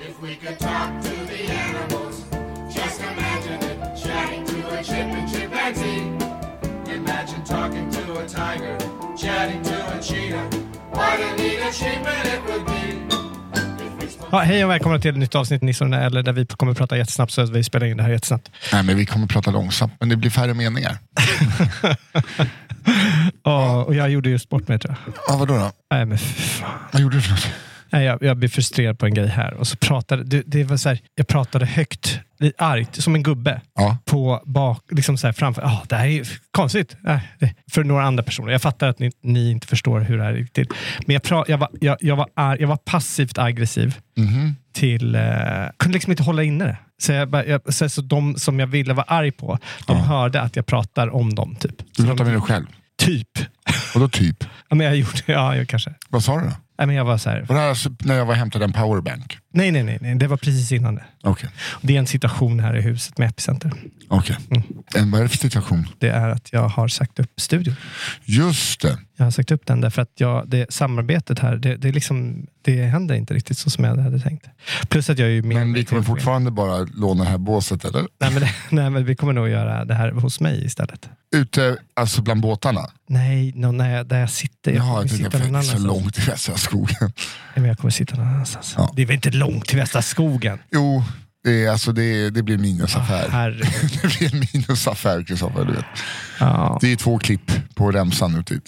If we could talk to the animals, just imagine it. Chatting to a chip and chimpanzee. Imagine talking to a tiger, chatting to a cheetah. What a neat achievement it would be. Ja, hej och välkomna till ett nytt avsnitt Nissarna eller där vi kommer att prata jättesnabbt så att vi spelar in det här jättesnabbt. Nej, men vi kommer prata långsamt, men det blir färre meningar. Ja, och jag gjorde just bort mig tror jag. Ja, vadå då? Nej, men fy fan. Vad gjorde du för något? Nej, jag, jag blev frustrerad på en grej här och så pratade det, det var så här, jag pratade högt, lite argt, som en gubbe. Ja. På bak, liksom så här framför, ja det här är ju f- konstigt. Nej, det- för några andra personer. Jag fattar att ni, ni inte förstår hur det här gick till. Men jag, pra, jag, var, jag, jag, var arg, jag var passivt aggressiv. Till, eh, kunde liksom inte hålla inne det. Så, jag, bara- jag, så, så de som jag ville vara arg på, de hörde att jag pratar om dem. Typ. Du pratar med dig själv. Typ. Vadå typ? Ja, men jag gjorde, ja jag kanske. Vad sa du då? Nej, men jag var så här, Var det här alltså när jag var och hämtade en powerbank? nej, nej, nej, nej, det var precis innan det. Okej. Det är en situation här i huset med Epicenter. Okej. Mm. En- Vad är det för situation? Det är att jag har sagt upp studion. Just det. Jag har sagt upp den därför att jag, det samarbetet här, det, det, är liksom, det händer inte riktigt så som jag hade tänkt. Plus att jag är ju med Men vi med kommer till- fortfarande bara låna det här båset, eller? Nej men, det- nej, men vi kommer nog göra det här hos mig istället. Ute, alltså bland båtarna? Nej, no, när jag, där jag sitter. Jag Jaha, kommer jag tänkte sitta att någon det är så annanstans. långt i västra skogen. Nej, men jag kommer sitta någon annanstans. Ja. Det är väl inte långt till Västra skogen? Jo, det, är, alltså det, är- det blir en minusaffär. Herregud. det blir en minusaffär, Kristoffer. Du vet. Ja. Det är två klipp på remsan nu. Typ.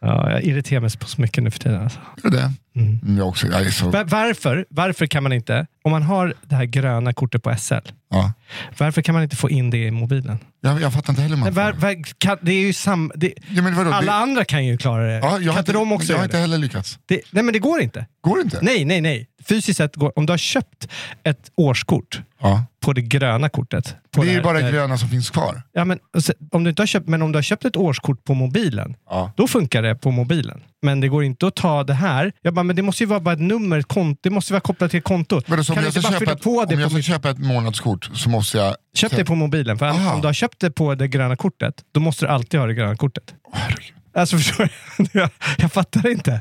Ja, jag irriterar mig på så mycket nu för tiden. Alltså. Är det det? Mm. Jag också. Jag är så, Var- Varför, varför kan man inte, om man har det här gröna kortet på SL, ja. varför kan man inte få in det i mobilen? jag, jag fattar inte heller. Men Man var, var, kan, det är ju sam, det, Ja, men vadå? alla Det- andra kan ju klara det. Ja, jag kan har inte de också Jag har göra inte det? heller lyckats. det? Nej, men det går inte. Går det inte? Nej, nej, nej. Fysiskt sett, går, om du har köpt ett årskort Ja. på det gröna kortet. På Det är ju här- bara här- gröna som finns kvar. Ja, men, och se- om du inte har köpt, men om du har köpt ett årskort på mobilen, Ja. då funkar det på mobilen. Men det går inte att ta det här. Jag bara, men det måste ju vara bara ett nummer, ett konto. Det måste vara kopplat till ett konto. Men då, så kan om du jag ska, inte bara köpa fylla ett, på det om på jag ska mitt... köpa ett månadskort så måste jag... Köp det på mobilen. För Aha. om du har köpt det på det gröna kortet, då måste du alltid ha det gröna kortet. Herregud. Alltså förstår du? Jag, jag fattar inte.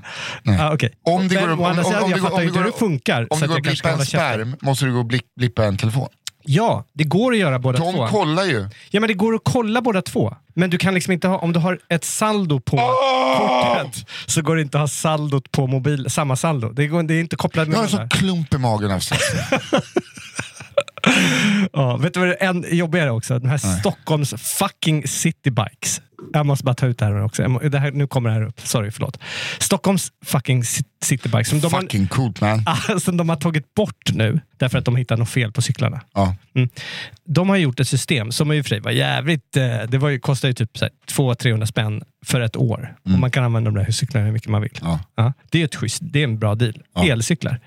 Ah, okej. Om det Men går- å om- andra om- sidan, om det jag går- fattar om ju det inte hur går- det funkar. Om så det att går jag att kanske blippa kan en hålla käften. sperm måste du gå och blipp, blippa en telefon. Ja, det går att göra båda De två. kollar ju. Ja, men det går att kolla båda två. Men du kan liksom inte ha, om du har ett saldo på kortet så går det inte att ha saldot på mobil, samma saldo. Det, går, det är inte kopplat med Jag har en varandra. sån klump i magen av stress. Ja, vet du vad det är än jobbigare också? De här Stockholms fucking citybikes. Jag måste bara ta ut det här nu också. Jag må, det här, nu kommer det här upp. Sorry, förlåt. Stockholms fucking ci- citybikes. Som de, har, Fucking coolt man. Ah, som de har tagit bort nu därför att de hittar något fel på cyklarna. Ja. Mm. De har gjort ett system som i och för sig var jävligt... Eh, det var ju, kostar ju typ så här 200-300 spänn för ett år. Och man kan använda de där cyklarna hur mycket man vill. Mm. Ja. Ja, det är ett schysst, det är en bra deal. Elcyklar.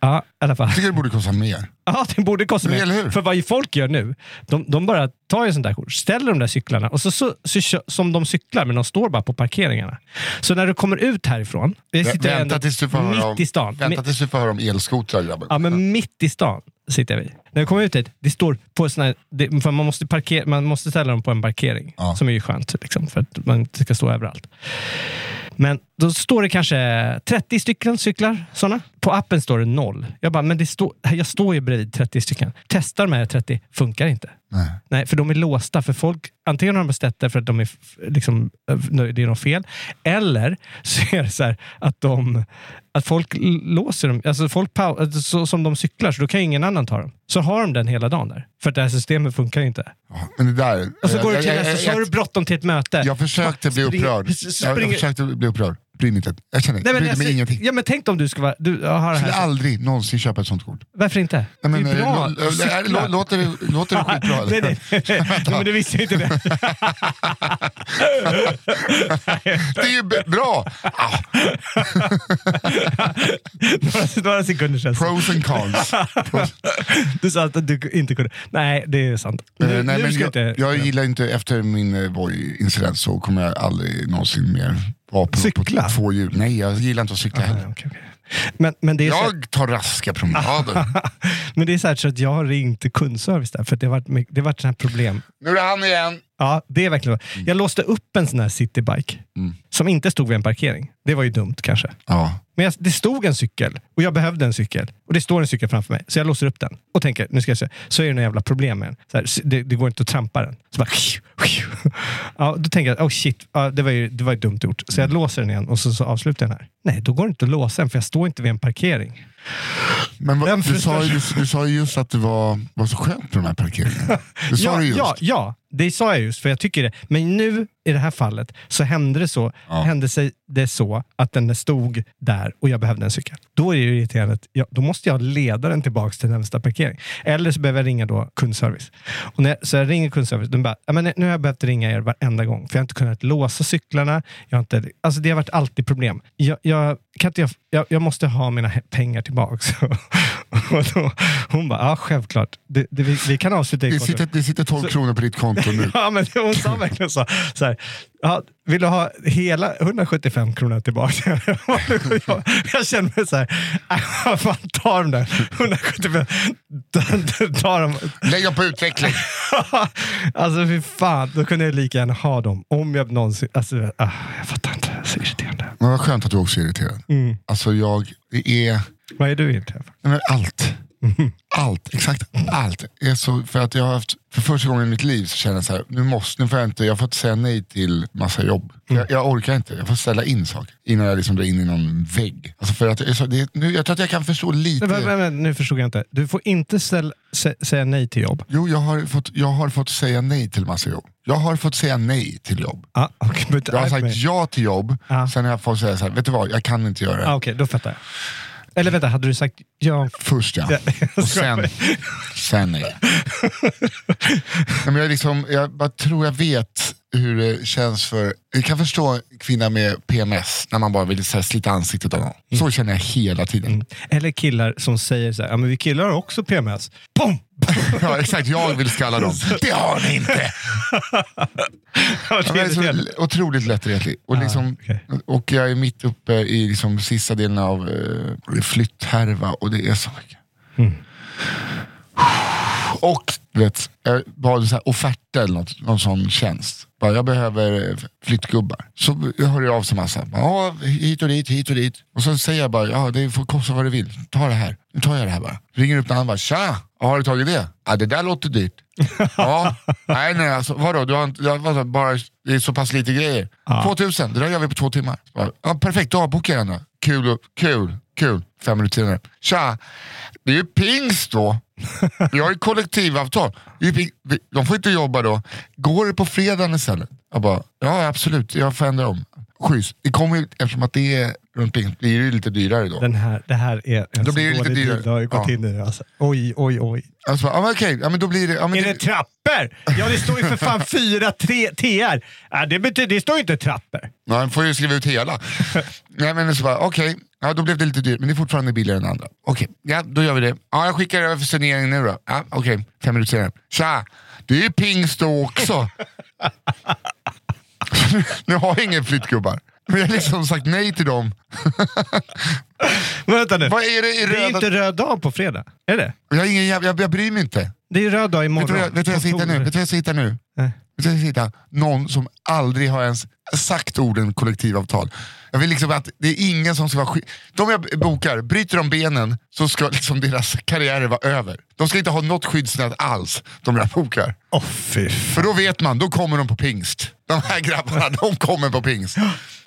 Ja, i alla fall. Jag tycker det borde kosta mer. Ja, det borde kosta Men eller mer. hur? För vad ju folk gör nu, de, de bara tar ju sånt där kort, ställer de där cyklarna och så, så, så kö- som de cyklar, men de står bara på parkeringarna. Så när du kommer ut härifrån, vi sitter Vänta ändå tills du får höra om- mitt i stan. Vänta tills du får höra om elskotrar grabben. Ja, men mitt i stan sitter vi. När vi kommer ut hit, det står på sån här, det, för man måste, parkera, man måste ställa dem på en parkering. Ja. Som är ju skönt, liksom, för att man inte ska stå överallt. Men Då står det kanske 30 stycken cyklar, sådana. På appen står det noll. Jag bara, men det står- jag står ju bredvid 30 stycken. Testar de här 30, funkar inte. Nej. Nej, för de är låsta. För folk, antingen har de beställt det för att de är, f- liksom, eh, nej, det är något fel. Eller så är det så här att, de, att folk l- låser dem. Alltså folk pau- alltså så, som de cyklar, så då kan ju ingen annan ta dem. Så har de den hela dagen där. För att det här systemet funkar inte. Ja, Men det där... Och så går du till jag, nästa, jag, så har du jag, bråttom till ett möte. jag försökte bli Spring- upprörd. Jag, jag springer- försökte bli upprörd. Bryr mig inte. Jag känner, Nej, men, brydde alltså, mig ingenting. ja, men tänk om du ska vara... Du, jag har det Jag skulle här. aldrig någonsin köpa ett sånt kort. Varför inte? Nej, men, det är eh, bra. lå- eh, Cykla. lå- låter, det- låter det skitbra nej, eller? nej, nej, nej, men du visste inte det. Det är ju b- bra! Ah, några, några sekunder sedan. pros and cons. eh, Du sa att du inte kunde. Nej, det är sant. Nu, Eh, nu ska jag, inte... jag gillar inte, efter min eh, Voi-incident så kommer jag aldrig någonsin mer vara på, Cykla? på två hjul. Nej, jag gillar inte att cykla Nej, heller. okej, okej. Men, men det är så, Jag tar raska promenader. men det är så, här, så att jag har ringt kundservice där, för att det har varit, mycket- det har varit sådana här problem. nu är det han igen. Ja, det är verkligen Mm. Jag låste upp en sån här citybike som inte stod vid en parkering. Det var ju dumt kanske. Ja. Men jag, det stod en cykel och jag behövde en cykel. Och det står en cykel framför mig. Så jag låser upp den och tänker, nu ska jag se. Så är det några jävla problem med den. Så här, s- det, det går inte att trampa den. Så bara, ja, då tänker jag, oh shit, ja, det, var ju, det var ju dumt gjort. Så jag låser den igen och så, så avslutar jag den här. Nej, då går det inte att låsa den för jag står inte vid en parkering. Men vad, Den du, sa ju, du, du sa ju just att det var, var så skönt med de här parkeringarna. Du sa ja, det just. ja, ja, det sa jag just för jag tycker det. Men nu i det här fallet så hände det så, hände sig det så att den stod där och jag behövde en cykel. Då är det ju irriterande att jag, då måste jag leda den tillbaka till närmsta parkering. Eller så behöver jag ringa då kundservice. Och när, så jag ringer kundservice. De bara, "Ja, men nu har jag behövt ringa er varenda gång för jag har inte kunnat låsa cyklarna. Jag har inte, alltså det har varit alltid problem. Jag, jag, kan inte, jag, jag, jag måste ha mina he- pengar tillbaka. Och då, hon bara, ja självklart. Det, det, vi, vi kan avsluta Det, kontot." sitter, det sitter 12 kronor på ditt konto nu. Ja, men hon sa verkligen så. så här, ja, vill du ha hela 175 kronor tillbaka? jag, jag känner mig så här, "Nej, vad fan, ta de där 175. Ta- ta dem. Lägg dem på utveckling. alltså fy fan, då kunde jag lika gärna ha dem. Om jag någonsin... Alltså, ah, jag fattar inte. Så irriterande. Men vad skönt att du också är irriterad. Mm. Alltså jag det är... Vad är du inte? Nej, men allt. Mm. Allt, exakt allt. Är så, för att jag har haft, för första gången i mitt liv så känner jag så här, nu måste, nu får jag inte, jag får inte säga nej till massa jobb. Mm. Jag, jag orkar inte, jag får ställa in saker innan jag liksom drar in i någon vägg. Alltså för att, jag är så, det, är- nu, jag tror att jag kan förstå lite. Men, men, men, nu förstod jag inte. Du får inte ställ, sä, säga nej till jobb. Jo, jag har, fått, jag har fått säga nej till massa jobb. Jag har fått säga nej till jobb. Ah, okay, but Jag har I- sagt ja till jobb, Ja. sen har jag fått säga så här, vet du vad, jag kan inte göra det. Ah, Okej, då fattar jag. Eller vänta, hade du sagt ja? Först ja. Ja, jag Och skojar. sen, sen nej. Nej, men jag, liksom, jag bara tror jag vet hur det känns för, jag kan förstå en kvinna med PMS när man bara vill så här, slita ansiktet av någon. Mm. Så känner jag hela tiden. Eller killar som säger så här, ja men vi killar har också PMS. Pom! Ja, exakt, jag vill skalla dem. Det har ni inte! Ja, Ja, det men alltså, är jag är det. så otroligt lättretlig. Och, liksom, okej. och jag är mitt uppe i liksom sista delen av eh, flytthärva och det är så mycket. Och du vet, jag bad så här, offerter eller något, någon sån tjänst. Bara, jag behöver eh, flyttgubbar. Så hör jag av sig massa. Bara, "Ja, hit och dit, hit och dit. Och så säger jag bara, ja det får kosta vad det vill. Ta det här. Nu tar jag det här bara. Ringer upp någon annan bara, tja, har du tagit det? Ja, det där låter dyrt. ja, nej nej alltså, vadå, du har inte, ja, vadå, bara, det är så pass lite grejer. 2000, det där gör vi på två timmar. Så bara, Ja, perfekt, då avbokar jag den då. Kul, och- kul, kul. Fem minuter senare. Tja, det är ju pingst då. Vi har ju kollektivavtal. Det är ju ping- vi- De får inte jobba då. Går det på fredagen istället? Jag bara, ja absolut, jag får ändra om. Schysst, det kommer ju, eftersom att det är runt pingst blir det ju lite dyrare då. Den här, det här är en Då så blir det lite dålig dyrare. bild jag har gått Ja. in i. det, Alltså. Oj, oj, oj. Alltså, bara, ja, men okej, ja, men då blir det... Ja, men Är det trappor? Ja, det står ju för fan fyra tre TR. Ja, det, betyder, det står ju inte trappor. Ja, han får ju skriva ut hela. Nej men så bara, okej, ja, då blev det lite dyrt, men det är fortfarande billigare än andra. Okej, ja då gör vi det. Ja, jag skickar över för signering nu då. Ja, okej, fem minuter senare. Tja, det är ju pingst då också. nu har jag ingen flyttgubbar. Men jag har liksom sagt nej till dem. Men vänta nu. Vad är det i det är ju röda... inte röd dag på fredag. Är det? Jag, har ingen jävla, jag, jag bryr mig inte. Det är ju röd dag Vet imorgon. Eh. du vad jag, vet du vad jag ska hitta nu? Vet du vad jag ska hitta nu? Nej. Vet du vad jag ska hitta? Någon som aldrig har ens exakt orden kollektivavtal. Jag vill liksom att det är ingen som ska vara sk- De jag bokar, bryter de benen så ska liksom deras karriärer vara över. De ska inte ha något skyddsnät alls, de jag bokar. Åh fy För då vet man, då kommer de på pingst. De här grabbarna, de kommer på pingst.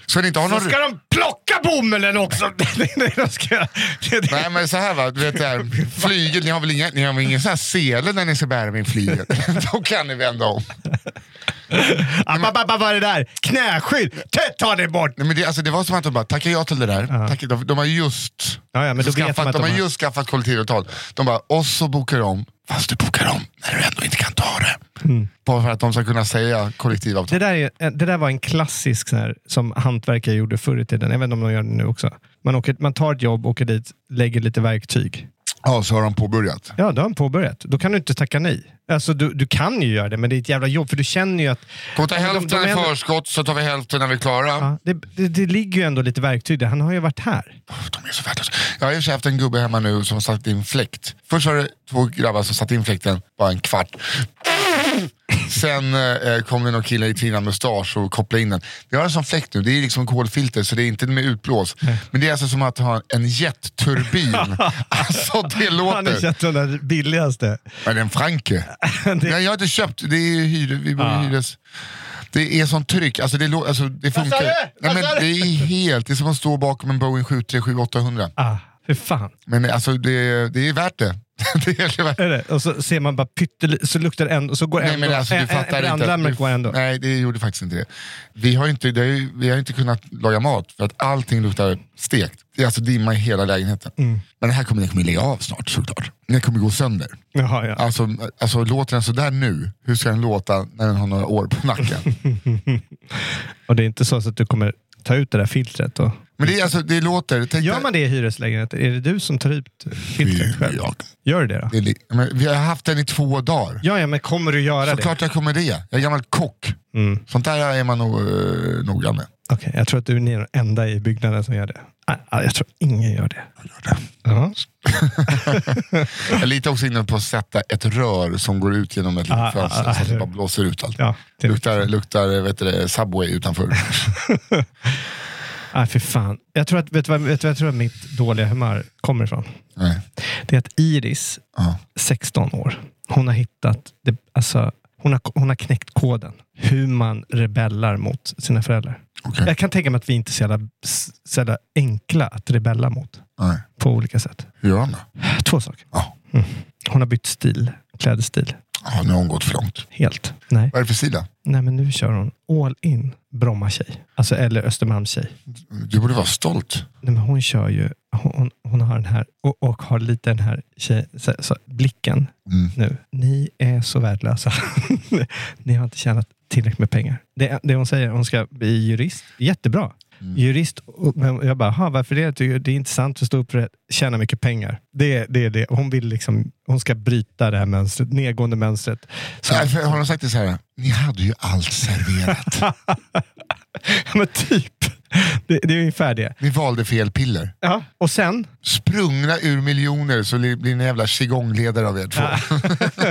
Så ni inte har Så någon... ska de plocka bomullen också! Nej, nej, de ska... Nej men så här va, du vet det här, flyget, ni har väl inga, ni har väl ingen sån här sele när ni ska bära min flyget? Då kan ni vända om. App, app, app, vad är det där? Knäskydd! Tätt, Ta det bort! Nej, men det, alltså, det var som att de bara, tackar ja till det där. Tackar, de, de har just Ja, ja, men då vet skaffat, de att de har de har- just skaffat kollektivavtal. De bara, och så bokar de om. Fast du bokar om när du ändå inte kan ta det. Mm. Bara för att de ska kunna säga Det kollektivavtal. där, är, det där var en klassisk sån här, som hantverkare gjorde förr i tiden. Jag vet inte om de gör det nu också. Man, åker, man tar ett jobb, åker dit, lägger lite verktyg. Ja, så har de påbörjat. Ja, då har de påbörjat. Då kan du inte tacka nej. Alltså, du, du kan ju göra det, men det är ett jävla jobb. För du känner ju att... Kommer ta Ja, men de- hälften de i är ändå- förskott så tar vi hälften när vi är klara. Ja, det, det, det ligger ju ändå lite verktyg där. Han har ju varit här. De är så värdelösa. Jag har i och för sig haft en gubbe hemma nu som har satt in fläkt. Först var det två grabbar som satte in fläkten, bara en kvart. Sen eh, kom det någon kille i Tina mustasch och kopplade in den. Vi har en sån fläkt nu, det är liksom kolfilter så det är inte med utblås. Men det är alltså som att ha en jetturbin. alltså det Han är låter. köpt den där billigaste. Men en franke. Det- Nej, jag har inte köpt, det är ju hyre, vi bor i hyres. Det är sånt tryck, alltså det, lå- alltså, det Ah. Vad sa funkar. du? Nej, Vad men sa det du? är helt, det är som att stå bakom en Boeing 737 800. Ah, hur fan. Men alltså det, det är värt det. det är värt. Är det? Och så ser man bara pyttelite, så luktar det en och så går Nej en, men alltså du en, fattar en, en inte. brandlarmet går ändå. Du, nej det gjorde faktiskt inte det. Vi har inte, det har ju, vi har inte kunnat laga mat för att allting luktar stekt. Det är alltså dimma i hela lägenheten. Mm. Men det här kommer, den kommer lägga av snart såklart. Den kommer gå sönder. Jaha, ja. Alltså, alltså låter den sådär nu, hur ska den låta när den har några år på nacken? Och det är inte så att du kommer ta ut det där filtret. Och... men det, är alltså, det låter... Tänk Gör man det i hyreslägenheter? Är det du som tar ut filtret själv? Jag. Gör du det då? Det är, li- men, vi har haft den i två dagar. Ja, ja, men kommer du göra det? Såklart jag kommer det. Jag är gammal kock. Mm. Sånt där är man nog eh, noga med. Okej, jag tror att du är den enda i byggnaden som gör det. Nej, nej, jag tror ingen gör det. Ja. Jag litar också inne på att sätta ett rör som går ut genom ett Ah, litet ah, fönster ah, så att det det- bara blåser ut allt. Ja, typ. det Luktar, luktar vet du, det, Subway utanför. Nej, för Ah, fan. Jag tror att, vet du vad, vet du vad jag tror att mitt dåliga humör kommer ifrån? Nej. Det är att Iris, Ja. 16 år, hon har hittat, det, alltså, hon, har, hon har knäckt koden. Hur man rebellar mot sina föräldrar. Okej. Jag kan tänka mig att vi inte är så jävla, så jävla enkla att rebella mot. Nej. På olika sätt. Hur gör han då? Två saker. Ja. Mm. Hon har bytt stil. Klädstil. Ja, nu har hon gått för långt. Helt. Nej. Vad är det för sida? Nej, men nu kör hon all in Bromma-tjej. Alltså, eller Östermalms-tjej. Du borde vara stolt. Nej, men hon kör ju, hon, hon har den här, och, och har lite den här tjej, så, så, blicken Mm. nu. Ni är så värdelösa. Ni har inte tjänat tillräckligt med pengar. Det, det hon säger, hon ska bli jurist. Jättebra. Mm. Jurist, och, men jag bara, "Ha, varför det? Jag tycker Det är intressant att stå upp för att tjäna mycket pengar. Det är det. Är det. Hon, vill liksom, hon ska bryta det här mönstret, nedgående mönstret. Så, Nej, för, har de sagt det så här? Ni hade ju allt serverat. men typ, det, det är ungefär det. Ni valde fel piller. Ja. Och sen, Sprungna ur miljoner så li- blir ni en jävla qigongledare av er två.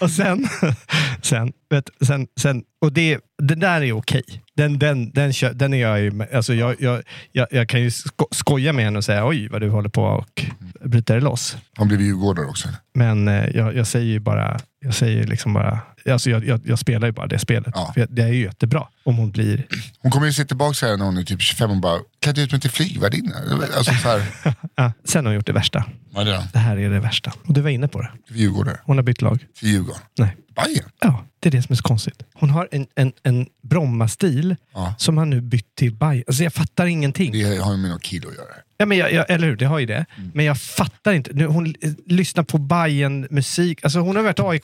Och sen, sen, vet, sen, sen och det, det där är okej. Den, den, den, kö- den är jag ju, alltså jag, jag, jag, jag kan ju sko, skoja med henne och säga oj vad du håller på och bryter dig loss. Han blev djurgårdare också. Men eh, jag, jag säger ju bara, jag säger ju liksom bara, alltså jag, jag, jag spelar ju bara det spelet. Ja. För jag- det är ju jättebra om hon blir, Hon kommer ju se tillbaka här när hon är typ 25 och bara, klädde ut mig till flygvärdinna. Alltså så här, ah, sen har hon gjort det värsta. vad är det då? Det här är det värsta. Och du var inne på det. Till Djurgårdare, Hon har bytt lag. till Djurgården. Nej. Bajen. Ja, det är det som är så konstigt. Hon har en, en, en Bromma-stil Ja. som har nu bytt till Bajen. Alltså jag fattar ingenting. Det Mm. har ju med någon kilo att göra. Ja, men jag, jag, eller hur, det har ju det. Men jag fattar inte. Nu, hon eh, lyssnar på bayern musik Alltså Hon har varit aik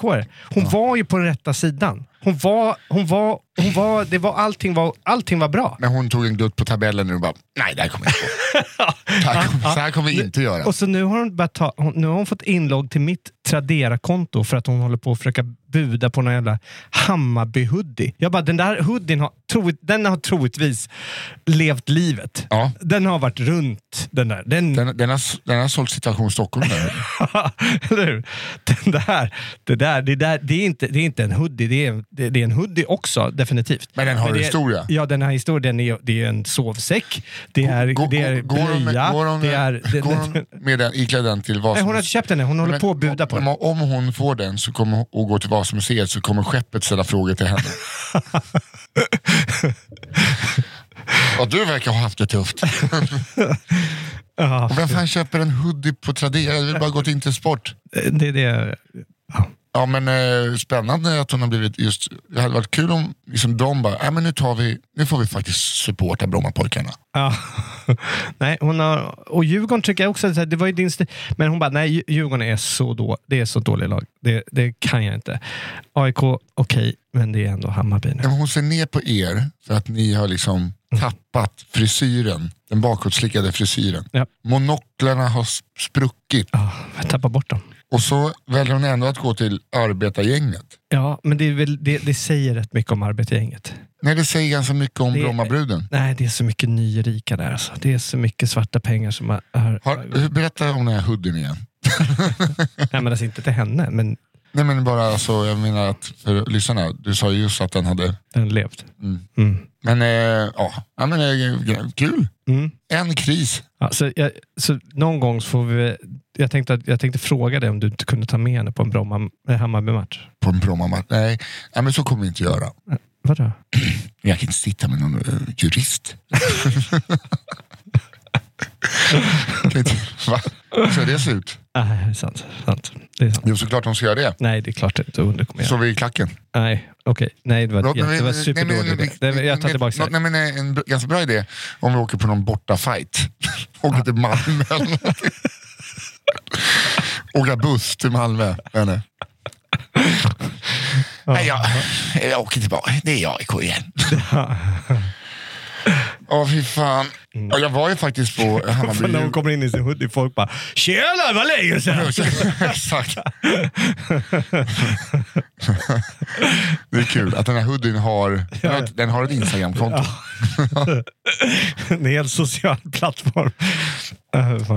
Hon var ju på den rätta sidan. Hon var, hon var, hon var, det var, allting, var, allting var bra. Men hon tog en glutt på tabellen nu och bara, nej det här kommer jag inte gå. Det här kommer- Så här kommer vi inte göra. Och så nu har hon, börjat ta, hon, nu har hon fått inlogg till mitt Tradera-konto för att hon håller på att försöka buda på någon jävla Hammarby-hoodie. Jag bara, den där hoodien har, troligt, den har troligtvis levt livet. Ja. Den har varit runt. den där. Den, Den, den, har, s- den har sålt Situation Stockholm där. eller hur? Den där, det, där, det, där det, är inte, det är inte en hoodie, det är, en- det, det är en hoodie också, definitivt. Men den har det, historia. Ja, den har historia. Den är, det är en sovsäck, det är, Gå- det är gå- går hon med- blöja, går hon det med- är... det- Går hon med den, iklädd den till Nej, hon har Vasamuseet? inte köpt den än. Hon håller Men på att buda på om, den. om hon får den så kommer hon, och går till Vasamuseet så kommer skeppet ställa frågor till henne. ja, du verkar ha haft det tufft. Ja, Och vem fan köper en hoodie på Tradera? Jag vill bara gå till Inte Sport. Eh, det, det, Ja, men eh, spännande att hon har blivit just... Det hade varit kul om liksom, de bara, "Nej, men nu, tar vi, nu får vi faktiskt supporta Brommapojkarna. Ja. Nej, hon har, och Djurgården tycker jag också, så här, det var ju din st- Men hon bara, nej Dju- Djurgården är så, då, det är så dålig lag. Det, det kan jag inte. AIK, okej, men det är ändå Hammarby nu. Ja, men Hon ser ner på er för att ni har liksom tappat frisyren, den bakåtslickade frisyren. Ja. Monoklarna har s- spruckit Ja, jag tappar bort dem. och så väljer hon ändå att gå till arbetargänget. Ja, men det, är väl, det, det säger rätt mycket om arbetargänget. Nej, det säger ganska mycket om Det- Brommabruden. Nej, det är så mycket nyrika där. Alltså. Det är så mycket svarta pengar som har... har Har, berätta om den här hoodien igen. nej, men alltså inte till henne, men Nej men bara alltså, jag menar att för lyssnarna, du sa ju just att den hade... den levt. Mm. Mm. Men eh, ja, ja men, eh, kul. Mm. En kris. Ja, så, jag, så någon gång så får vi... Jag tänkte, att- jag tänkte fråga dig om du inte kunde ta med henne på en Bromma, eh, Hammarby-match. på en Brommamatch. Nej, nej, men så kommer vi inte göra. Vadå? Jag kan inte sitta med någon eh, jurist. Kan inte- Va? Så det ser ut? Nej, Ah, det är sant. sant. Det är sant. Jo, såklart de ska göra det. Nej, det är klart det inte. Under kommer jag. Så vi i klacken. Nej, okej. Nej, det var, Förlåt, men vi- det var nej, superdålig men- idé. nej, Det- Jag tar nej, tillbaka det. Nej, men eh, en b- ganska bra idé om vi åker på någon bortafight. åker till Malmö eller någonting. Åka buss till Malmö. Eller? Nej, jag, jag åker tillbaka. Det är AIK igen. Ja, fy fan. Ja, jag var ju faktiskt på Hammarby. Mm. För när hon kommer in i sin hoodie, folk bara “Tjena, vad länge sedan!” Exakt. det är kul att den här hoodien har, den har, ett- den har ett Instagramkonto. En hel social plattform. Eh, fan.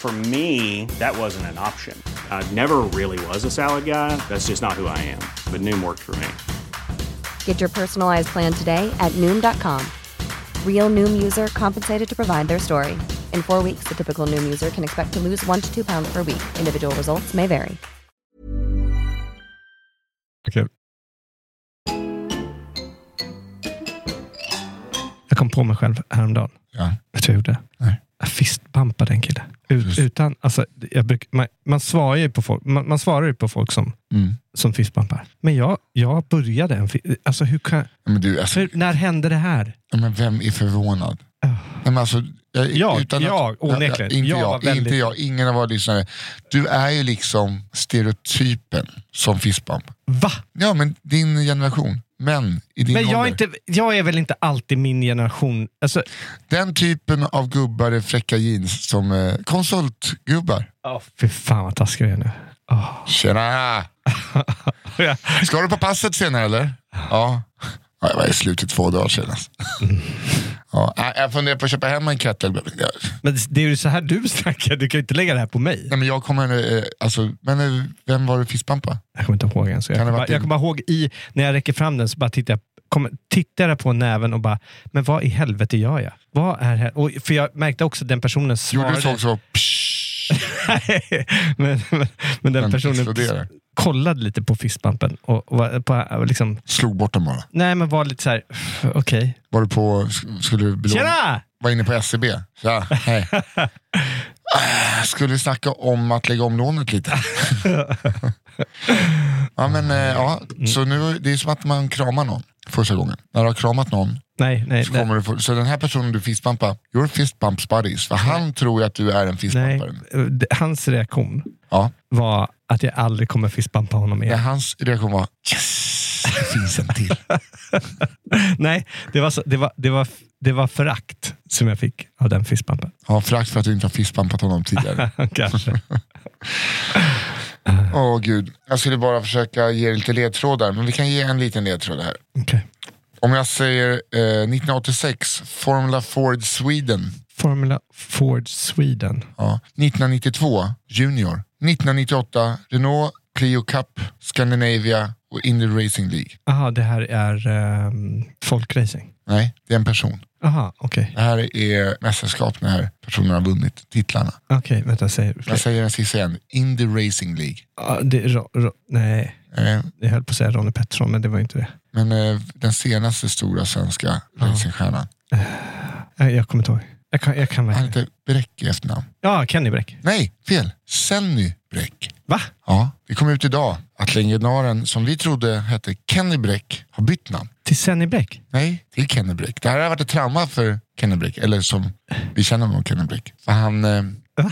For me, that wasn't an option. I never really was a salad guy. That's just not who I am. But Noom worked for me. Get your personalized plan today at Noom.com. Real Noom user compensated to provide their story. In four weeks, the typical Noom user can expect to lose one to two pounds per week. Individual results may vary. Jag kom på mig själv häromdagen. Ja. Vet du vad jag gjorde? Nej. Jag fistbumpade en kille. Ut, Just. utan, alltså, jag bruk, man, man svarar ju på folk, man, man svarar ju på folk som, Mm. som fistbumpar. Men jag, jag började en fi- alltså, hur kan, Ja, Men du, alltså, hur, När hände det här? Ja, Men vem är förvånad? Nej, men alltså, jag, Jag, utan jag, onekligen. Inte Jag jag, var väldigt- inte jag, ingen av våra lyssnare. Du är ju liksom stereotypen som fistbump. Va? Ja, men din generation. Män i din Men jag är, ålder. inte, jag är väl inte alltid min generation? Alltså, Den typen av gubbar i fräcka jeans som eh, konsultgubbar. oh, fy fan vad taskig jag är nu. Åh. Tjena! Ja. Ska du på passet senare eller? Ja. ja jag var i slutet två dagar senast. alltså. Ja, nej, jag funderar på att köpa hem en kettlebell. Men det är ju så här du snackar, du kan ju inte lägga det här på mig. Nej, men jag kommer, eh, alltså, men eh, vem var det fiskpampa? Jag kommer inte ihåg ens. Jag Kan det kommer, bara, ha varit jag din- kommer bara ihåg i, när jag räcker fram den så bara tittar jag, kommer, tittar jag på näven och bara, men vad i helvete gör jag? Vad är här? Och, för jag märkte också att den personen Gjorde svarade. du så också? Nej, men, men, men den Den personen exploderar. kollade lite på fistbumpen och, och var, på, liksom, Slog bort den bara. nej men var lite så här, okej. Var du på, sk- skulle du belåna- Tjena! Var inne på SCB? Tja, hej. Ah, Skulle snacka om att lägga om lånet lite. ja, men, eh, ja. Så nu, det är som att man kramar någon första gången. När du har kramat någon Nej, nej, så, nej. kommer du få, så den här personen du fistbumpar, you're fist bumps buddies. För han tror ju att du är en nej. fistbumpare. Det- Hans reaktion Ja. var att jag aldrig kommer fistbumpa honom Men igen. hans reaktion var yes, det finns en till. Nej, det var, så, det, var, det, var, det var förakt som jag fick av den fistbumpen. Ja, frakt för att du inte har fistbumpat honom tidigare. Kanske. Åh gud, jag skulle bara försöka ge lite ledtrådar, men vi kan ge en liten ledtråd här. Okay. Om jag säger eh, 1986, Formula Ford Sweden. Formula Ford Sweden. Ja. 1992, Junior. 1998, Renault Clio Cup, Scandinavia och Indy Racing League. Aha, det här är ehm, folkracing. Nej, det är en person. Aha, okej. Det här är mästerskap när personen har vunnit titlarna. Okej, vänta, jag säger Jag säger den sista igen, Indy Racing League. ah, det, är ro, ro, Nej, Eh, jag höll på att säga Ronny Pettersson, men det var inte det. men eh, den senaste stora svenska racingstjärnan. Nej, Eh, Jag kommer inte ihåg. Jag kan, jag kan Han verkligen. heter Bräck i efternamn. Ja, Kenny Bräck. Nej, fel. Senny Bräck. Va? Ja, det kom ut idag att legendaren som vi trodde hette Kenny Bräck har bytt namn. Till Senny Bräck? Nej, till Kenny Bräck. Det här har varit ett trauma för Kenny Bräck, eller som vi känner honom, Kenny Bräck. För han, eh,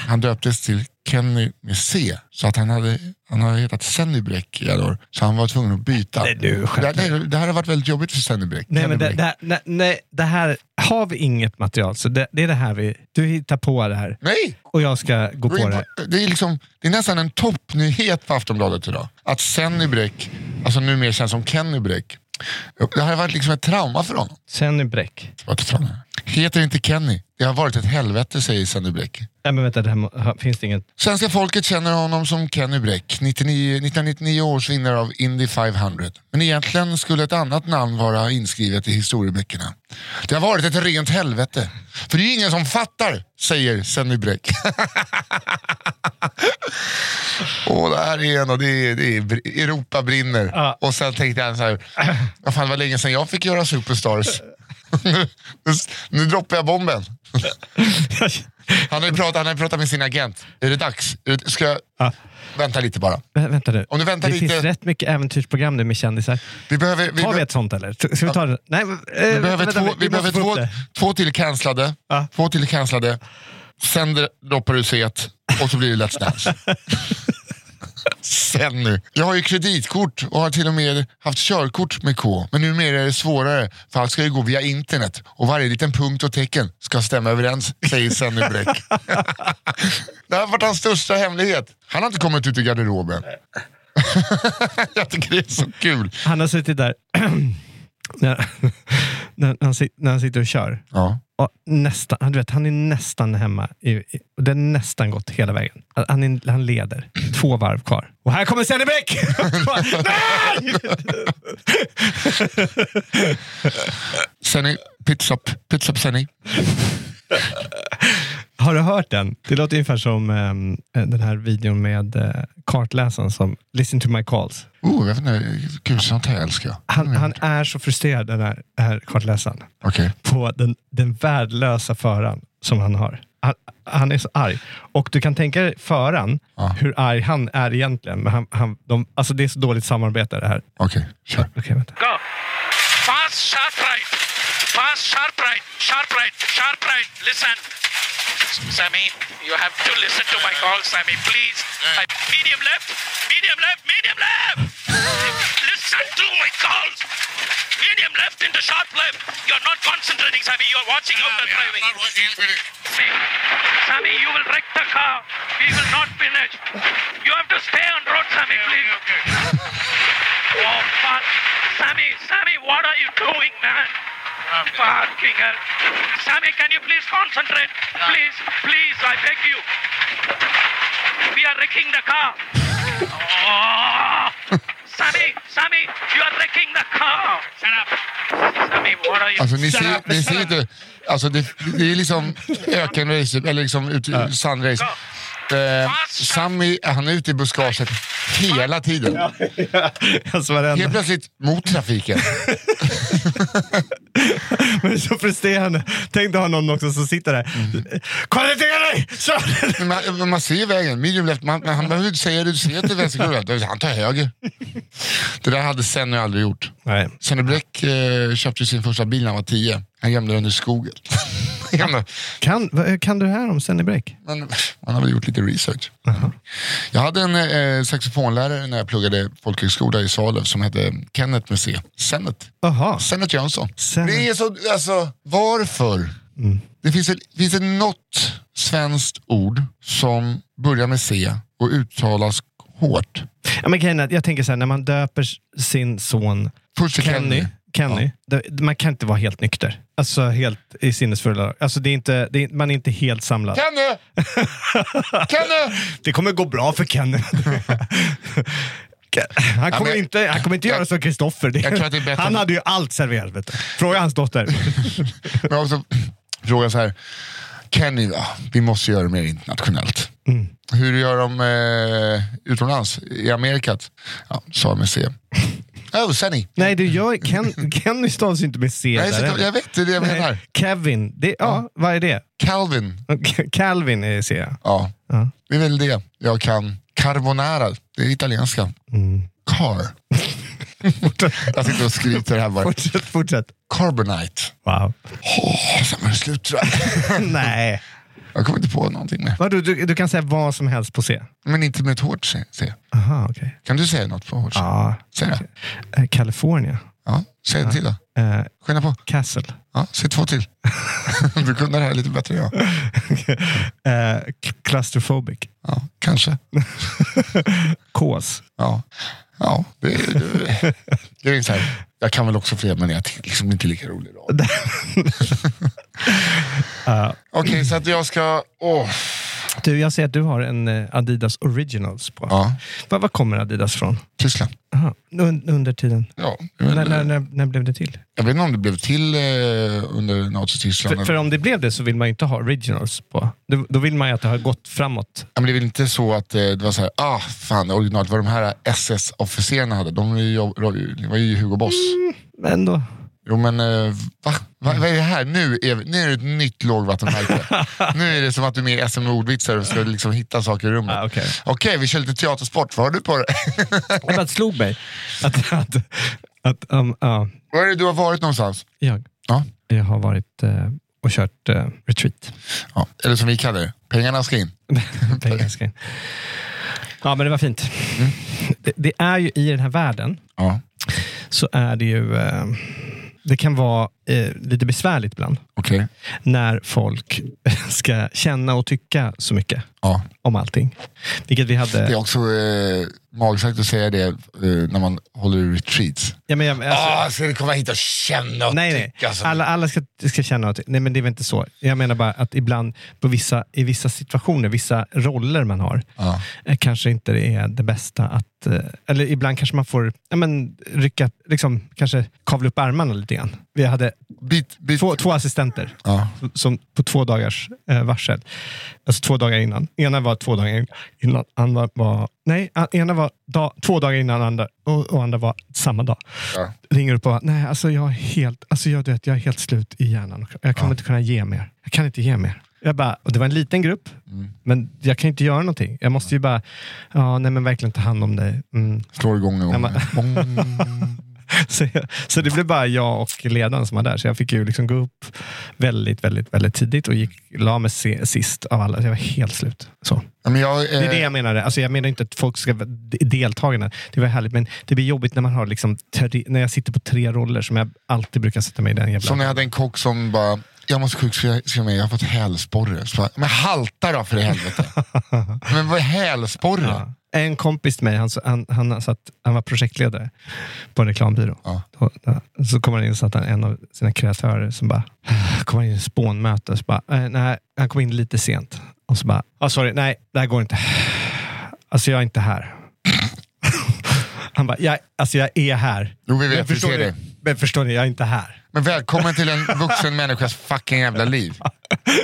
han döptes till Kenny med C, så att han, hade, han har hetat Senny Bräck i alla år. Så han var tvungen att byta. Nej, du det, skämtar. det, det här har varit väldigt jobbigt för Senny Bräck. Nej, Kenny men det, Bräck. det, här- nej, nej, det här har vi inget material, så det, det är det här vi... Du hittar på det här Nej! och jag ska gå Gå in på det. på- Det är, liksom, det är nästan en toppnyhet på Aftonbladet idag. Att Senny Bräck, alltså numera känns som Kenny Bräck. Det här har varit liksom ett trauma för honom. Senny Bräck. Det var ett trauma. Heter inte Kenny. Det har varit ett helvete, säger Senny Bräck. Nej, Äh, men vänta, det här, må- finns det inget... Svenska folket känner honom som Kenny Bräck, 99, 1999 års vinnare av Indy 500. Men egentligen skulle ett annat namn vara inskrivet i historieböckerna. Det har varit ett rent helvete. För det är ju ingen som fattar, säger Senny Bräck. Åh, det här är en och det är, det är br- Europa brinner. Ja. Och sen tänkte han så här, vad fan det var länge sedan jag fick göra Superstars. nu, nu droppar jag bomben. Han har ju pratat, han har ju pratat med sin agent. Är det dags? Är det- Ska jag... Ja. Vänta lite bara. Vä- Vänta nu. Om du väntar det lite- finns rätt mycket äventyrsprogram nu med kändisar. Vi behöver, vi Tar vi be- ett sånt eller? Ska ska vi ta det? Nej, men, eh, vi behöver, vänta, två, vi måste behöver få upp två, det. två till cancellade. Ja. Två till cancellade. Sen dr- droppar du set och så blir det Let's Dance. Sen nu. Jag har ju kreditkort och har till och med haft körkort med K. Men numera är det svårare för allt ska ju gå via internet och varje liten punkt och tecken ska stämma överens, säger Senny Bräck. det här har varit hans största hemlighet. Han har inte kommit ut ur garderoben. Jag tycker det är så kul. Han har suttit där när, när, han, sit- när han sitter och kör. Ja. Och nästan, han- du vet, han är nästan hemma. I, i, och det har nästan gått hela vägen. Han, är, han leder. Två varv kvar. Och här kommer Senny Bräck! Nej! Senny, pizza, pizza Senny. Har du hört den? Det låter ungefär som ehm, den här videon med eh, kartläsaren som Listen to my calls. Oh, jag vet inte. Gud, sånt här älskar jag. Mm. Han, han är så frustrerad, den här, den här kartläsaren, Okej. på den, den värdelösa föraren som han har. Han, han är så arg. Och du kan tänka dig föraren, hur arg han är egentligen. Men han, han, de, alltså det är så dåligt samarbete det här. Okej, kör. Okej, vänta. Go. Pass sharp right. Pass sharp right. Sharp right. Sharp right. Listen. Sammy, you have to listen to my call, Sammy. Please. I- medium left. Medium left. Medium left. listen to my calls. Medium left into sharp left. You're not concentrating, Sammy. You're watching out and driving. Sammy, you will wreck the car. We will not finish. You have to stay on road, Sammy, please. Oh, fuck. Sammy, Sammy, what are you doing, man? Fucking hell. Sammy, can you please concentrate? Please, please, I beg you. We are wrecking the car. oh. Sammy, Sammy, you are wrecking the car. Shut up. Sammy, what are you... Alltså ni Shut ser, up. ni ser inte, alltså det, det är liksom ökenrace, eller liksom ut, sandrace. Eh, Sammy, han är ute i buskaget hela tiden. Helt plötsligt mot trafiken. Men det är så frustrerande. Tänk dig ha någon också som sitter där. Kvalificera dig! Kör! Man, man ser vägen, medium left, man, men han behöver inte säga det, du ser inte vänsterkurvan. Han tar höger. Det där hade Senny aldrig gjort. Nej. Senny Bläck eh, köpte sin första bil när han var tio. Han gömde den i skogen. Han gömde- Kan, vad- kan du det här om Senny Bräck? Men man har väl gjort lite research. Jag hade en eh, saxofonlärare när jag pluggade folkhögskola i Salöv som hette Kenneth med C. Sennet. Sennet Jönsson. Det är så, alltså, varför? Det finns, ett, finns det något svenskt ord som börjar med C och uttalas hårt? Ja, men grejen är att jag tänker så här, när man döper s- sin son Först till Kenny, Kenny. Kenny det- man kan inte vara helt nykter. Alltså helt i sinnesfulla alltså, det är inte, det är, Man är inte helt samlad. Kenny! Kenny! Det kommer gå bra för Kenny. Han kommer, jag- inte, han kommer inte göra som Kristoffer. Det- jag tror att det är bättre Han om- hade ju allt serverat. Vet du. Fråga hans dotter. Men också frågan så här. Kenny, ja, vi måste göra det mer internationellt. Mm. Hur gör de eh, utomlands? I Amerikat? Ja, sa med C. Oh, Senny. Nej, du gör, Ken, Kenny stavas ju inte med C. Nej, där så- heller. jag vet, det är det jag Nej, menar. Kevin, det, ja, vad är det? Calvin. Calvin är C. Ja. Ja. Det är väl det jag kan. Carbonara, det är italienska. Mm. Car. jag sitter och skryter här bara. Fortsätt, fortsätt. Carbonite. Wow. Åh, sen var det slut tror jag. Nej. jag kommer inte på någonting med. Vadå, du, du kan säga vad som helst på C? Men inte med ett hårt C. C. Aha, okej. Kan du säga något på hårt C? Ja. Säg det. Eh, California. Ja, säg en till då. Eh, Skynda på. Castle. Ja, säg två till. du kunde det här lite bättre än jag. Eh, k- claustrophobic. Ja, kanske. Kås. Ja, ja det, det, det är så här. Jag kan väl också fler, men jag tycker liksom inte lika rolig idag. Okej, så att jag ska... Åh, Du, jag ser att du har en eh, Adidas Originals på. Ja. Var, var kommer Adidas från? Tyskland. Aha. Un, under tiden. Ja, När, men, när, när, när blev det till? jag vet inte om det blev till eh, under Nazityskland. För, för om det blev det så vill man ju inte ha originals på. Då, då vill man ju att det har gått framåt. Ja, men det är väl inte så att eh, det var så här, ah fan originalet, vad de här SS-officerarna hade, de var ju, jobb- det var ju Hugo Boss. Men ändå. Jo men eh, va? va? Vad är det här? Nu är, vi- nu är det ett nytt lågvattenmärke. nu är det som att du är med i SM ordvitsar och ska liksom hitta saker i rummet. Ah, okej. vi kör lite teatersport, vad har du på dig? Det bara slog mig. Att, att, att, um, ja. Var är det du har varit någonstans? jag, Ja. jag har varit eh, och kört eh, retreat. ja. Eller som vi kallar det, pengarna ska in. Det är ganska- ja, men det var fint. Det, det är ju i den här världen Ja, så är det ju... Eh, det kan vara eh, lite besvärligt ibland okej. när folk ska känna och tycka så mycket Ja. om allting. Vilket vi hade... Det är också eh, magstarkt att säga det eh, när man håller i retreats. Ja, men jag, alltså, Ah, ska du komma hit och känna och nej, tycka? nej. så- Alla, alla ska, ska känna att, nej men det är väl inte så. Jag menar bara att ibland på vissa, i vissa situationer, vissa roller man har, Ja. eh, kanske inte det är det bästa att... eh, Eller ibland kanske man får ja, men, rycka, liksom, kanske kavla upp ärmarna lite grann. Vi hade Bit, bit. två, två assistenter Ja. som på två dagars eh, varsel. Alltså två dagar innan. Ena var två dagar innan, andra var... Nej, a- ena var dag, två dagar innan andra, och, och andra var samma dag. Ja. Ringer upp och bara, nej alltså jag är helt, alltså jag, du vet, jag är helt slut i hjärnan. och Jag kommer inte kunna ge mer. Jag kan inte ge mer. Jag bara, och det var en liten grupp, men jag kan inte göra någonting. Jag måste ju bara, ja, nej men verkligen ta hand om dig. Mm. Slår igång någon Ja, gång. men- Bong. Så, jag, så det blev bara jag och ledaren som var där. Så jag fick ju liksom gå upp väldigt, väldigt, väldigt tidigt och gick, la mig se, sist av alla. Jag var helt slut. Så. Ja, men jag, eh, Det är det jag menade. Alltså jag menar inte att folk ska vara d- deltagande. Det var härligt, men det blir jobbigt när man har liksom tre, när jag sitter på tre roller som jag alltid brukar sätta mig i den jävla... Som när jag hade en kock som bara, jag måste sjukskriva mig, jag har fått hälsporre. Så bara, Men halta då för i helvete. Men vad är hälsporre? En kompis till mig, han, han, han, satt, han var projektledare på en reklambyrå. Då, då, så kommer han in och satt han en av sina kreatörer som bara, "Ah," kommer in i spånmöte och så bara, eh, nej, han kom in lite sent. Och så bara, ah, sorry, nej, det här går inte. Alltså jag är inte här. Han bara, jag, alltså jag är här. Jo, vi vet, vi förstår ser ni, dig. Men förstår ni, jag är inte här. Men välkommen till en vuxen människas fucking jävla liv.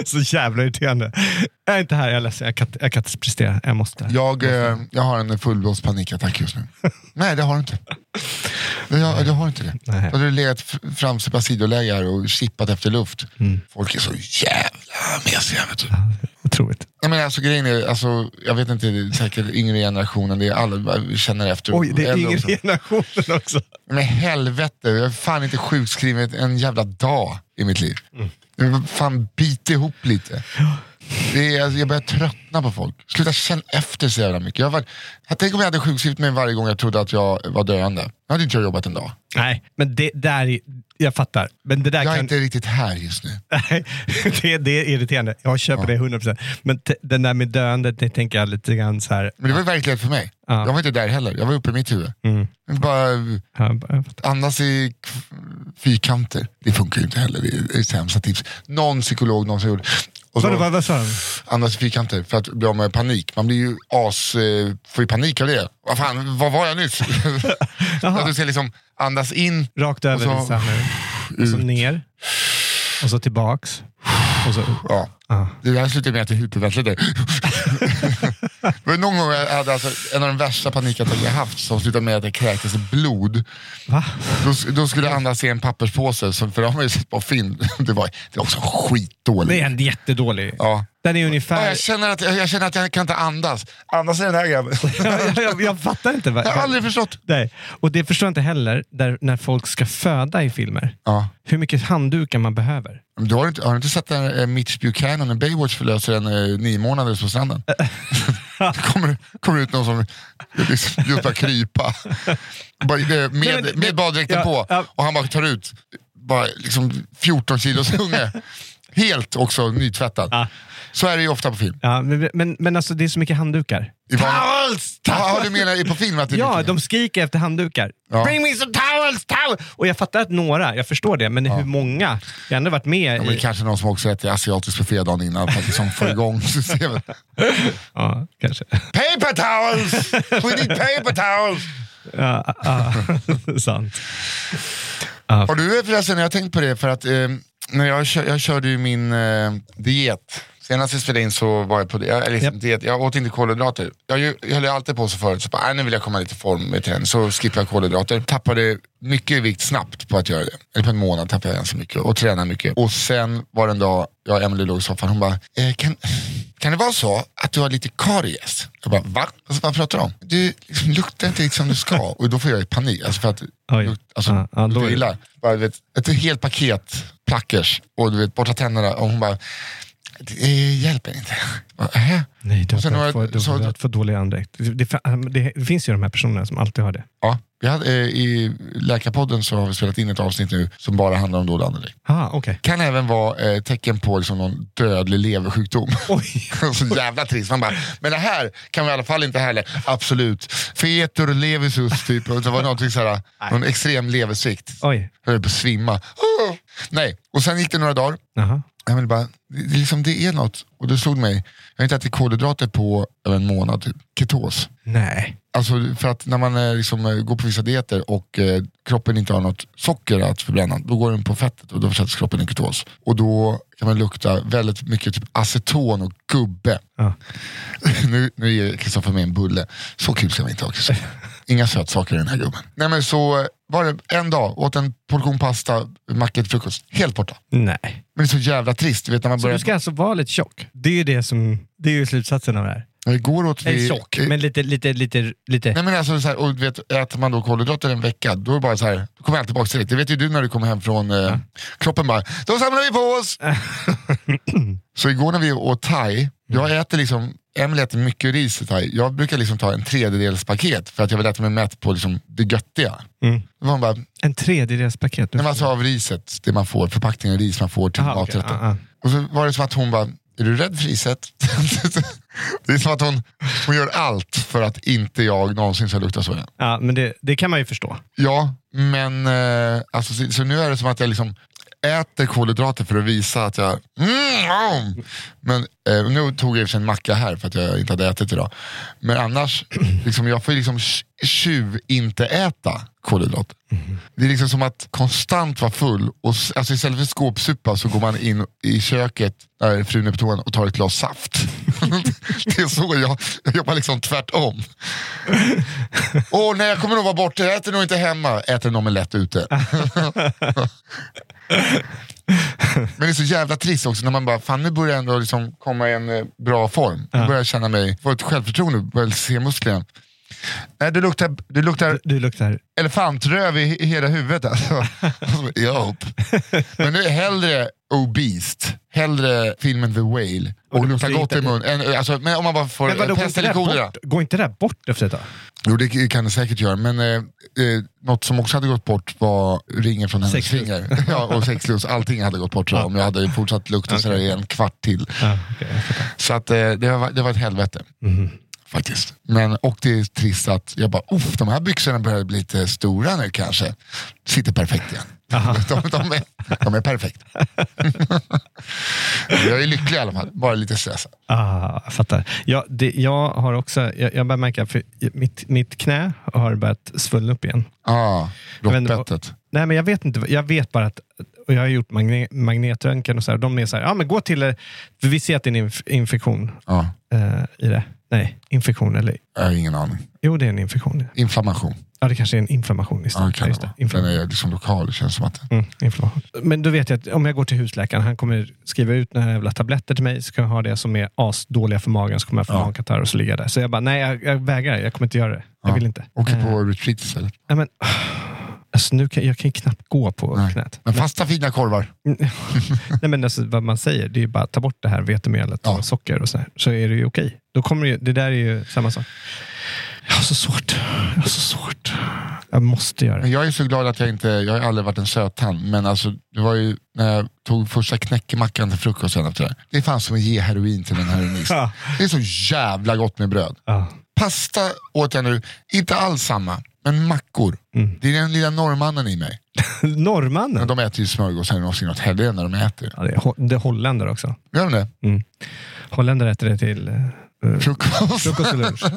Så jävla irriterande. Jag är inte här, jag är ledsen. Jag kan, inte- jag kan inte prestera. Jag måste. Jag, eh, jag har en fullblåst panikattack just nu. Nej, det har du inte. Jag, jag har inte det. Då hade du legat f- framsida sidoläge här och chippat efter luft. Mm. Folk är så jävla mesiga. Vet du. Otroligt. Nej, men alltså, grejen är, alltså, jag vet inte, det är säkert yngre generationen, det är alla vi känner efter. Oj, det är Äldre yngre också. generationen också. Men helvete, jag har fan inte sjukskrivit en jävla dag i mitt liv. Mm. Fan, bit ihop lite. Det är, alltså, jag börjar tröttna på folk. Sluta känna efter så jävla mycket. Jag har varit, jag tänk om jag hade sjukskrivit mig varje gång jag trodde att jag var döende. Då hade inte jag jobbat en dag. Nej, men det där är... Jag fattar. Men det där Jag är kan... inte riktigt här just nu. Nej, det, det är irriterande. Jag köper det 100%. Men te- den där med döendet, det tänker jag lite grann så här... Men det var ju verklighet för mig. Ja. Jag var inte där heller. Jag var uppe i mitt huvud. Mm. Men Bara Ja, bara- andas i k- fyrkanter. Det funkar ju inte heller. Det är det är sämsta tips. Någon psykolog någonsin gjorde. Och så- Vadå, Vad vad sa han? andas i fyrkanter för att bli av med panik. Man blir ju as, eh, får ju panik av det. Vad fan, vad var jag nyss? att du ska liksom andas in, Rakt över Och så- så, så här nu. Och så ut. ner. Och så tillbaks. Och så upp. ja. Ja. Det där slutade med att jag hyperventilerade. Det var någon gång jag hade alltså en av de värsta panikattacker jag haft som slutade med att jag kräktes i blod. Va? Då, då skulle jag andas i en papperspåse, så- för det har man ju sett på film. Det var, det var också skitdåligt. Det är en jättedålig. Ja. Den är Ja, ungefär... jag, känner att, jag känner att jag kan inte andas. Andas i den här grabben. jag, jag, jag fattar inte. Vad, Jag har aldrig förstått. Nej. Och det förstår jag inte heller där, när folk ska föda i filmer. Ja. Hur mycket handdukar man behöver. Men Du har, inte, har du inte sett eh, en, en Mitch Buchanan, en Baywatch förlöser en eh, nio månader på stranden? det kommer, kommer ut någon som liksom, just börjar krypa. Bara, eh, men- med med men- baddräkten ja, på ja. och han bara tar ut bara, liksom 14 kilos unge. Helt också nytvättad. Så är det ju ofta på film. Ja, men, men, men alltså det är så mycket handdukar. I van- Ja, du menar på film att det är Ja, mycket mer? de skriker efter handdukar. Ja. Bring me some towels, towels! Och jag fattar att några, jag förstår det, men hur många? Jag har ändå varit med Ja, men i... det kanske är någon som också äter asiatisk buffé dagen innan för att liksom få igång systemet. Ja, kanske. Paper towels! We need paper towels! Ja, ja. Sant. Har du förresten, jag har tänkt på det, för att eh, när jag, kö- jag körde ju min eh, diet. Senast vi spelade in så var jag på det. Jag, eller liksom, Japp. diet. jag åt inte kolhydrater. Jag, ju- jag höll ju alltid på så förut, så bara, "Aj, nu vill jag komma lite i form med träning. Så skippade jag kolhydrater. Tappade mycket vikt snabbt på att göra det. Eller på en månad tappade jag ganska mycket och tränade mycket. Och sen var det en dag, jag och Emelie låg i soffan, hon bara, eh, kan, kan det vara så att du har lite karies? Jag bara, va? Alltså, vad pratar du om? Du liksom, luktar inte riktigt som du ska. Och då får jag ju panik. Alltså, för att, Oj. lukt- alltså, Ja, ja, då luktar är det- illa. Bara, du vet, ett helt paket plackers och du vet, borta tänderna och hon bara, det eh, hjälper inte. Jag bara, "Äh?" "Ähä?" Nej, du Och sen har har haft för, jag- du så- har haft för dålig andedräkt. Det, det, det finns ju de här personerna som alltid har det. Ja, vi hade, eh, I Läkarpodden så har vi spelat in ett avsnitt nu som bara handlar om dålig andedräkt. Ah, okej. Kan även vara eh, tecken på liksom, någon dödlig leversjukdom. Oj. så jävla trist. Man bara, men det här kan vi i alla fall inte heller. Absolut. Fetur levisus typ. Och Det var någonting såhär, någon extrem leversvikt. Oj. Jag höll på att svimma. Ah! Nej, och sen gick det några dagar. Jaha. Jag vill bara, det, det, är liksom, det är något. Och det slog mig, jag har inte ätit kolhydrater på över en månad, typ. ketos. Nej. Alltså för att när man eh, liksom, eh, går på vissa dieter och eh, kroppen inte har något socker att förbränna, då går den på fettet och då försätts kroppen i ketos. Och då kan man lukta väldigt mycket typ aceton och gubbe. Ja. nu, nu ger Kristoffer mig en bulle. Så kul ska vi inte ha Kristoffer. Inga sötsaker i den här gubben. Nej men så eh, var det en dag, åt en portion pasta, macka till frukost. Helt borta. Nej. Men det är så jävla trist. Du vet, när man Så börjar... du ska alltså vara lite tjock? Det är ju det som, det är ju slutsatsen av det här. Igår åt vi... Eller tjock, men lite, lite, lite, Nej lite. men alltså, så här, och du vet, äter man då kolhydrater en vecka, då är det bara så här, då kommer allt tillbaka direkt. Det vet ju du när du kommer hem från eh, kroppen bara, Mm. då samlar vi på oss! så igår när vi åt thai, jag äter liksom Emelie äter mycket ris i thai. Jag brukar liksom ta en tredjedelspaket för att jag vill äta mig mätt på liksom det göttiga. Mm. Då var hon bara, En tredjedelspaket. när man tar av riset, det man får, förpackningen av ris man får till Aha, okej, maträtten. ah, ah. Och så var det som att hon bara, är du rädd för riset? det är som att hon, hon gör allt för att inte jag någonsin ska lukta så igen. Ja, men det, det kan man ju förstå. Ja, men eh, alltså, så, så nu är det som att jag liksom äter kolhydrater för att visa att jag... Mm, ja. Men eh, nu tog jag i och för sig en macka här för att jag inte hade ätit idag. Men annars, liksom, jag får ju liksom tj- tjuv inte äta kolhydrater. Det är liksom som att konstant vara full och s- alltså, istället för skåpsupa så går man in i köket där frun är på toan och tar ett glas saft. det är så jag, jag jobbar liksom tvärtom. Åh nej, jag kommer nog vara borta. Jag äter nog inte hemma. Äter en omelett ute. Men det är så jävla trist också när man bara, fan nu börjar jag ändå liksom komma i en eh, bra form. Nu börjar jag känna mig, få ett självförtroende, börjar se musklerna. Nej, du luktar, du luktar Du luktar... elefantröv i he- hela huvudet alltså. Jopp. Men nu är hellre obesed, hellre filmen The Whale och, luktar gott i mun. än- Alltså, men om man bara får Men vadå, går eh, pest inte, eller det kolera. bort, går inte det här bort efter ett tag? Jo det kan det säkert göra, men eh, eh, något som också hade gått bort var ringen från hennes Sexlust. finger. ja, och sexlust, allting hade gått bort tror jag, om jag hade fortsatt lukta sådär i en kvart till. Ja, okej, jag fattar. Så att, eh, det, var, det var ett helvete. Faktiskt. Men, och det är trist att jag bara, uff, de här byxorna börjar bli lite stora nu kanske. Sitter perfekt igen. De, de, är, de är perfekt. jag är lycklig i alla fall, bara lite stressad. Ah, jag fattar. Ja, det, jag har också, jag, jag börjar märka, för mitt, mitt knä har börjat svullna upp igen. Ah, Jag vet inte vad- rockbettet. Nej, men jag vet inte. Jag vet bara att, och jag har gjort magne, magnetröntgen och så här, de är så här, ja men gå till, eh, för vi ser att det är en inf- infektion Ja, eh, i det. Nej, infektion eller, jag har ingen aning. jo det är en infektion. Inflammation. Ja, det kanske är en inflammation Ja, istället. det kan just det vara. Den Inflammation. är liksom lokal, det känns som att. Mm, inflammation. Men då vet jag att om jag går till husläkaren, han kommer skriva ut några jävla tabletter till mig, så kan jag ha det som är asdåliga för magen, så kommer jag få Ja. magkatarr och så ligga jag där. Så jag bara, nej jag, jag vägrar, jag kommer inte göra det. Jag Ja. vill inte. Åker Eh, på retreat istället. nej, men, alltså, nu kan, jag kan ju knappt gå på Nej. knät. Men fasta fina korvar. Nej, men alltså, vad man säger, det är ju bara ta bort det här vetemelet Ja. och socker och sådär, så är det ju okej. Då kommer det, ju, det där är ju samma sak. Jag har så svårt. Jag har så svårt. Jag måste göra Men det. jag är så glad att jag inte, jag har aldrig varit en sötand, men alltså, det var ju när jag tog första knäckemackan till frukost sen efter det här. Det är fan som att ge heroin till en heroinist. Ja. Det är så jävla gott med bröd. Ja. Pasta åt jag nu, inte alls samma, men mackor. Mm. Det är den lilla norrmannen i mig. Men Norrmannen. de äter ju smörgås eller någonsin åt helvete när de äter. Ja, det, är, ho- det är holländare också. Gör de det? Mm. Holländare äter det till eh, eh, Frukost? frukost och lunch.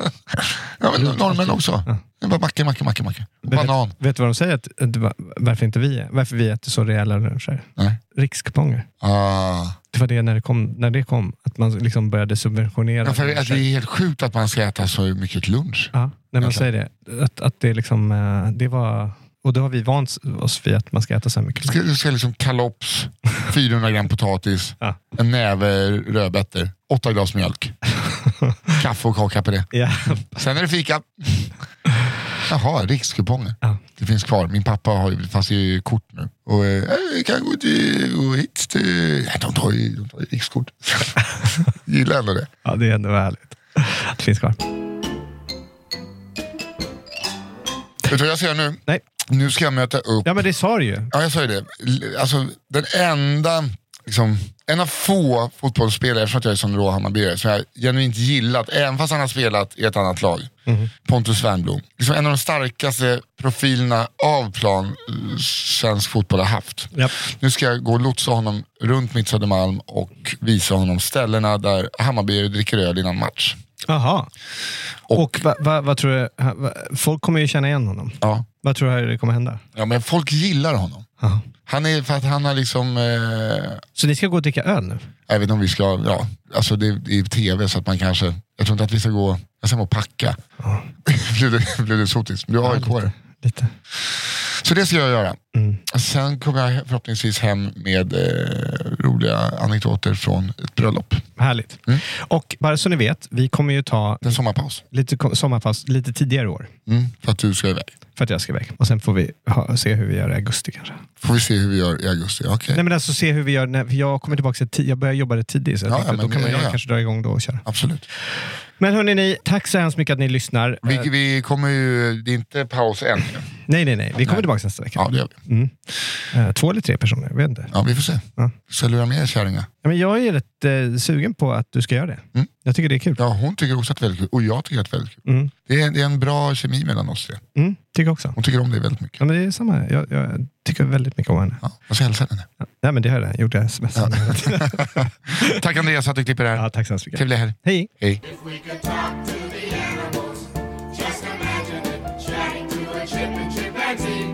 Ja, men norrmän också. Det är bara macka, macka, macka, macka. Och banan. Vet, vet du vad de säger? Att, att, va- varför inte vi Varför vi äter så rejäla luncher? Nej. Rikskuponger. Ah. Det var det när det kom, när det kom att man liksom började subventionera. Ja, för att luncher. det är helt sjukt att man ska äta så mycket lunch. Ja, nej, men Alltså. säg det. Att, att det liksom, eh, det var, och då har vi vant oss vid att man ska äta så här mycket. Du ska, du ska liksom kalops, 400 gram potatis, Ja. en näve rödbetor, åtta glas mjölk, kaffe och kaka på det. Ja. Sen är det fika. Jaha, rikskuponger. Ja. Det finns kvar. Min pappa har ju, fast det är ju kort nu. Och eh, jag kan gå till, gå hit till... Nej, de tar ju de tar ju rikskort. Gillar ändå det. ja, det är ändå härligt. Det finns kvar. Vet du vad jag ska göra nu? Nej. Nu ska jag möta upp Ja, men det sa du ju. Ja, jag sa ju det. L- Alltså, den enda, liksom, en av få fotbollsspelare, eftersom att jag är sån rå Hammarbyare, som jag genuint gillat, även fast han har spelat i ett annat lag. Pontus Wernbloom. Liksom en av de starkaste profilerna av plan eh, svensk fotboll har haft. Japp. Nu ska jag gå och lotsa honom runt mitt Södermalm och visa honom ställena där Hammarbyare dricker öl innan match. Jaha. Och, Och- va, va, vad tror du, ha- va, folk kommer ju känna igen honom. Ja. Vad tror du det kommer hända? ja, men folk gillar honom. Jaha. Han är, för att han har liksom... Eh, Så ni ska gå och dricka öl nu? Jag vet inte om vi ska, ja, alltså det är det är tv så att man kanske, jag tror inte att vi ska gå, jag ska nog packa. blev, det, blev det sotis? Du har AIK Lite. Så det ska jag göra. Mm. Sen kommer jag förhoppningsvis hem med eh, roliga anekdoter från ett bröllop. Härligt. Mm. Och bara så ni vet, vi kommer ju ta En sommarpaus. lite kom- sommarpaus lite tidigare i år. Mm, för att du ska iväg. för att jag ska iväg. Och sen får vi ha, se hur vi gör i augusti kanske. Får vi se hur vi gör i augusti. Okej. Nej men alltså se hur vi gör, när, för jag kommer tillbaka, till ti- jag börjar jobba det tidigt så jag Ja, tänkte ja, då men kan det- man ja, ja. kanske dra igång då och köra. Absolut. Men hörni ni, tack så hemskt mycket att ni lyssnar. Eh, Vi, vi kommer ju, det är inte paus än. nej nej nej, vi kommer tillbaka nästa vecka. Ja, det gör vi. Mm. Eh, Två eller tre personer, jag vet inte. Ja, vi får se. Ja. Så lura med er kärringar. Ja, Men jag är rätt eh, sugen på att du ska göra det. Mm. Jag tycker det är kul. Ja, hon tycker också att det är väldigt kul. Och jag tycker att det är väldigt kul. Mm. Det är, det är en bra kemi mellan oss tre. Mm, tycker också. Hon tycker om dig väldigt mycket. Ja, men det är samma. här. Jag, jag tycker väldigt mycket om henne. Ja, jag ska hälsa henne. Ja, men det har jag redan gjort. Jag smsade henne. Tack Andreas att du klipper det här. Ja, tack så hemskt mycket. Trevlig helg. Hej! Hej. If we could talk to the animals, just imagine it chatting to a chip and chimpanzee.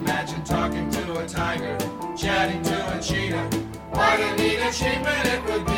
Imagine talking to a tiger, chatting to a cheetah. What a neat achievement it would be